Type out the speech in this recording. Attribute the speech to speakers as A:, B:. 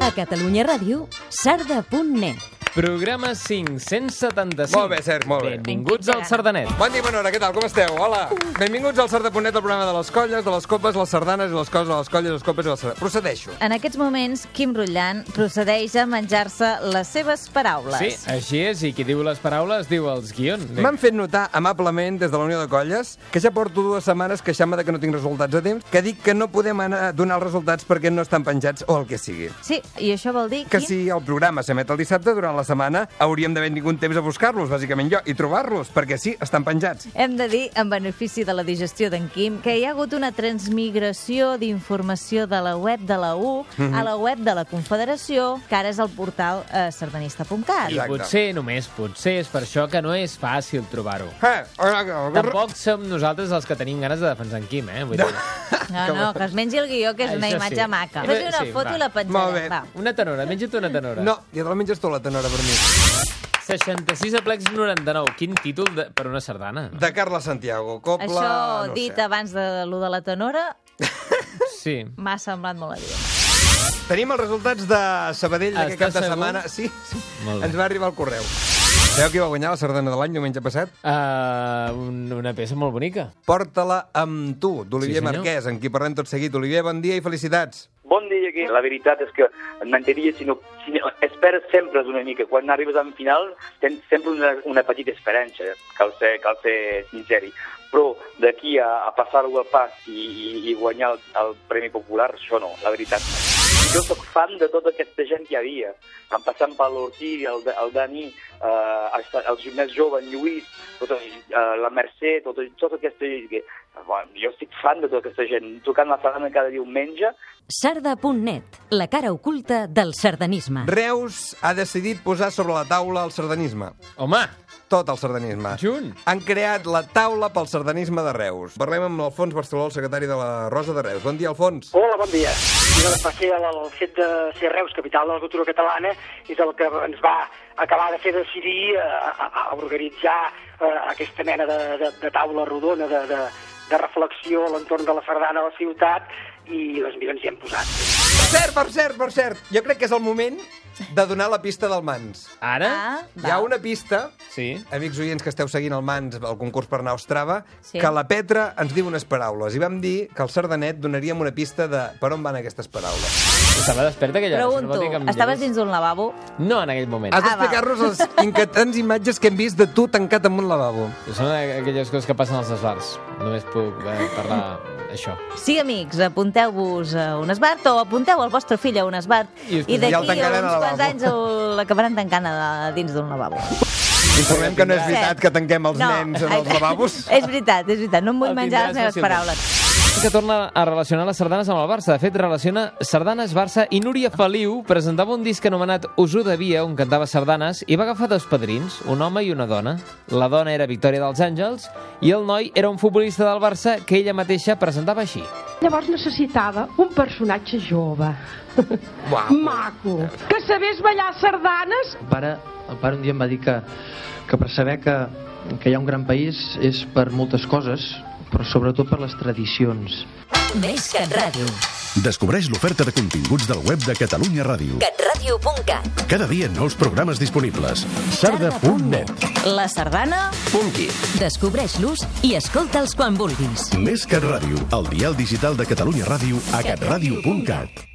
A: A Catalunya Ràdio, sarda.net.
B: Programa 575.
C: Molt bé, Cert, molt bé.
B: Benvinguts al Sardanet.
C: Bon dia, Manora, què tal? Com esteu? Hola! Benvinguts al Sardaponet, el programa de les colles, de les copes, les sardanes i les coses, de les colles, les copes i les sardanes. Procedeixo.
D: En aquests moments, Quim Rutllant procedeix a menjar-se les seves paraules.
B: Sí, així és, i qui diu les paraules diu els guions.
C: M'han fet notar amablement des de la Unió de Colles que ja porto dues setmanes queixant-me de que no tinc resultats a temps, que dic que no podem anar a donar els resultats perquè no estan penjats o el que sigui.
D: Sí, i això vol dir,
C: Que
D: Quim,
C: si el programa s'emet el dissabte, durant la setmana, hauríem d'haver tingut temps a buscar-los, bàsicament jo, i trobar-los, perquè sí, estan penjats.
D: hem de dir, en benefici de la digestió d'en Quim, que hi ha hagut una transmigració d'informació de la web de la U a la web de la Confederació, que ara és el portal eh, sardanista.cat.
B: I
C: Exacte.
B: potser, només potser, és per això que no és fàcil trobar-ho.
C: Eh, hola, hola,
B: Tampoc som nosaltres els que tenim ganes de defensar en Quim, eh? Vull dir,
D: No, no, que es mengi el guió, que és una
B: Això sí.
D: imatge maca.
B: Eh,
D: Fes una
B: sí,
D: foto
B: va.
D: i la
C: Molt bé.
D: penjarem, va.
B: una tenora, menja't una tenora.
C: No, ja te la menges tu, la tenora, per mi.
B: 66 aplecs 99. Quin títol de... per una sardana. No?
C: De Carla Santiago, copla...
D: Això
C: no ho
D: dit
C: sé.
D: abans de lo de la tenora,
B: Sí.
D: m'ha semblat molt adient.
C: Tenim els resultats de Sabadell d'aquest cap
B: Estàs
C: de
B: segur?
C: setmana. Sí, sí.
B: Molt bé.
C: ens va arribar el correu. Sabeu qui va guanyar la sardana de l'any diumenge passat?
B: Uh, un, una peça molt bonica.
C: Porta-la amb tu,
B: Sí,
C: d'Olivier
B: senyor.
C: Marquès, amb qui parlem tot seguit. Olivier, bon dia i felicitats.
E: Bon dia, Quim. La veritat és que en mentiria, sinó, sinó esperes sempre una mica. Quan arribes al final tens sempre una, una petita esperança, cal ser, cal ser sinceri. Però d'aquí a, a passar-ho al pas i, i, i guanyar el, el Premi Popular, això no, la veritat. Jo sóc fan de tota aquesta gent que hi havia, en passant per l'Ortí, el, Da- el Dani, eh, els, els més joves, en Lluís, tota, eh, la Mercè, tota, tota aquesta gent. que- Bueno, jo estic fan de tota aquesta gent, tocant la sardana cada diumenge,
A: Sarda.net, la cara oculta del sardanisme.
C: Reus ha decidit posar sobre la taula el sardanisme.
B: Home,
C: Tot el sardanisme.
B: Junt.
C: Han creat la taula pel sardanisme de Reus. Parlem amb l'Alfons Barceló, el secretari de la Rosa de Reus. Bon dia, Alfons.
F: Hola, bon dia. Jo va ser el, el fet de ser Reus, capital de la cultura catalana, és el que ens va acabar de fer decidir a, a, a organitzar eh, aquesta mena de, de, de taula rodona, de, de, de reflexió a l'entorn de la sardana a la ciutat, i doncs mira, ens hi hem posat.
C: Per cert, per cert, per cert. Jo crec que és el moment de donar la pista del Mans.
B: ara?
D: Ah,
C: Eh? Hi ha una pista
B: Sí.
C: Amics oients que esteu seguint el Mans, el concurs per anar a Ostrava,
D: Sí.
C: que la Petra ens diu unes paraules i vam dir que al Sardanet donaríem una pista de per on van aquestes paraules.
B: Estava desperta aquella hora, si no
D: Pregunto,
B: vol dir que em
D: estaves
B: llevés.
D: dins d'un lavabo?
B: No, en aquell moment.
C: Has
D: Ah, va.
C: d'explicar-nos les inquietants imatges que hem vist de tu tancat en un lavabo.
B: Són aquelles coses que passen als esbars. Només puc eh, parlar això.
D: Sí, amics, apunteu-vos a un esbart o apunteu el vostre fill a un esbart
B: I
D: i,
B: després ja
D: d'aquí
C: el
D: a
C: tancaran
D: uns
C: al
D: quants
C: lavabo.
D: anys el- l'acabaran tancant a, dins d'un lavabo.
C: Informem que no és veritat que tanquem els
D: No,
C: nens en els lavabos.
D: és veritat, és veritat, no em
B: El
D: vull menjar les
B: tindràs
D: meves
B: fàcilment.
D: paraules.
B: Que torna a relacionar les sardanes amb el Barça. De fet, relaciona sardanes, Barça i Núria Feliu presentava un disc anomenat Us ho devia, on cantava sardanes, i va agafar dos padrins, un home i una dona. La dona era Victòria dels Àngels i el noi era un futbolista del Barça que ella mateixa presentava així.
G: Llavors necessitava un personatge jove,
C: Uau.
G: maco, que sabés ballar sardanes
H: El pare, el pare un dia em va dir que, que per saber que, que hi ha un gran país és per moltes coses, però sobretot per les tradicions.
A: Més que ràdio.
I: Descobreix l'oferta de continguts del web de Catalunya Ràdio.
A: catradio.cat.
I: Cada dia nous programes disponibles. Sarda.net.
D: La sardana,
I: Punky.
A: Descobreix-los i escolta'ls quan vulguis.
I: Més que ràdio. El dial digital de Catalunya Ràdio a catradio.cat.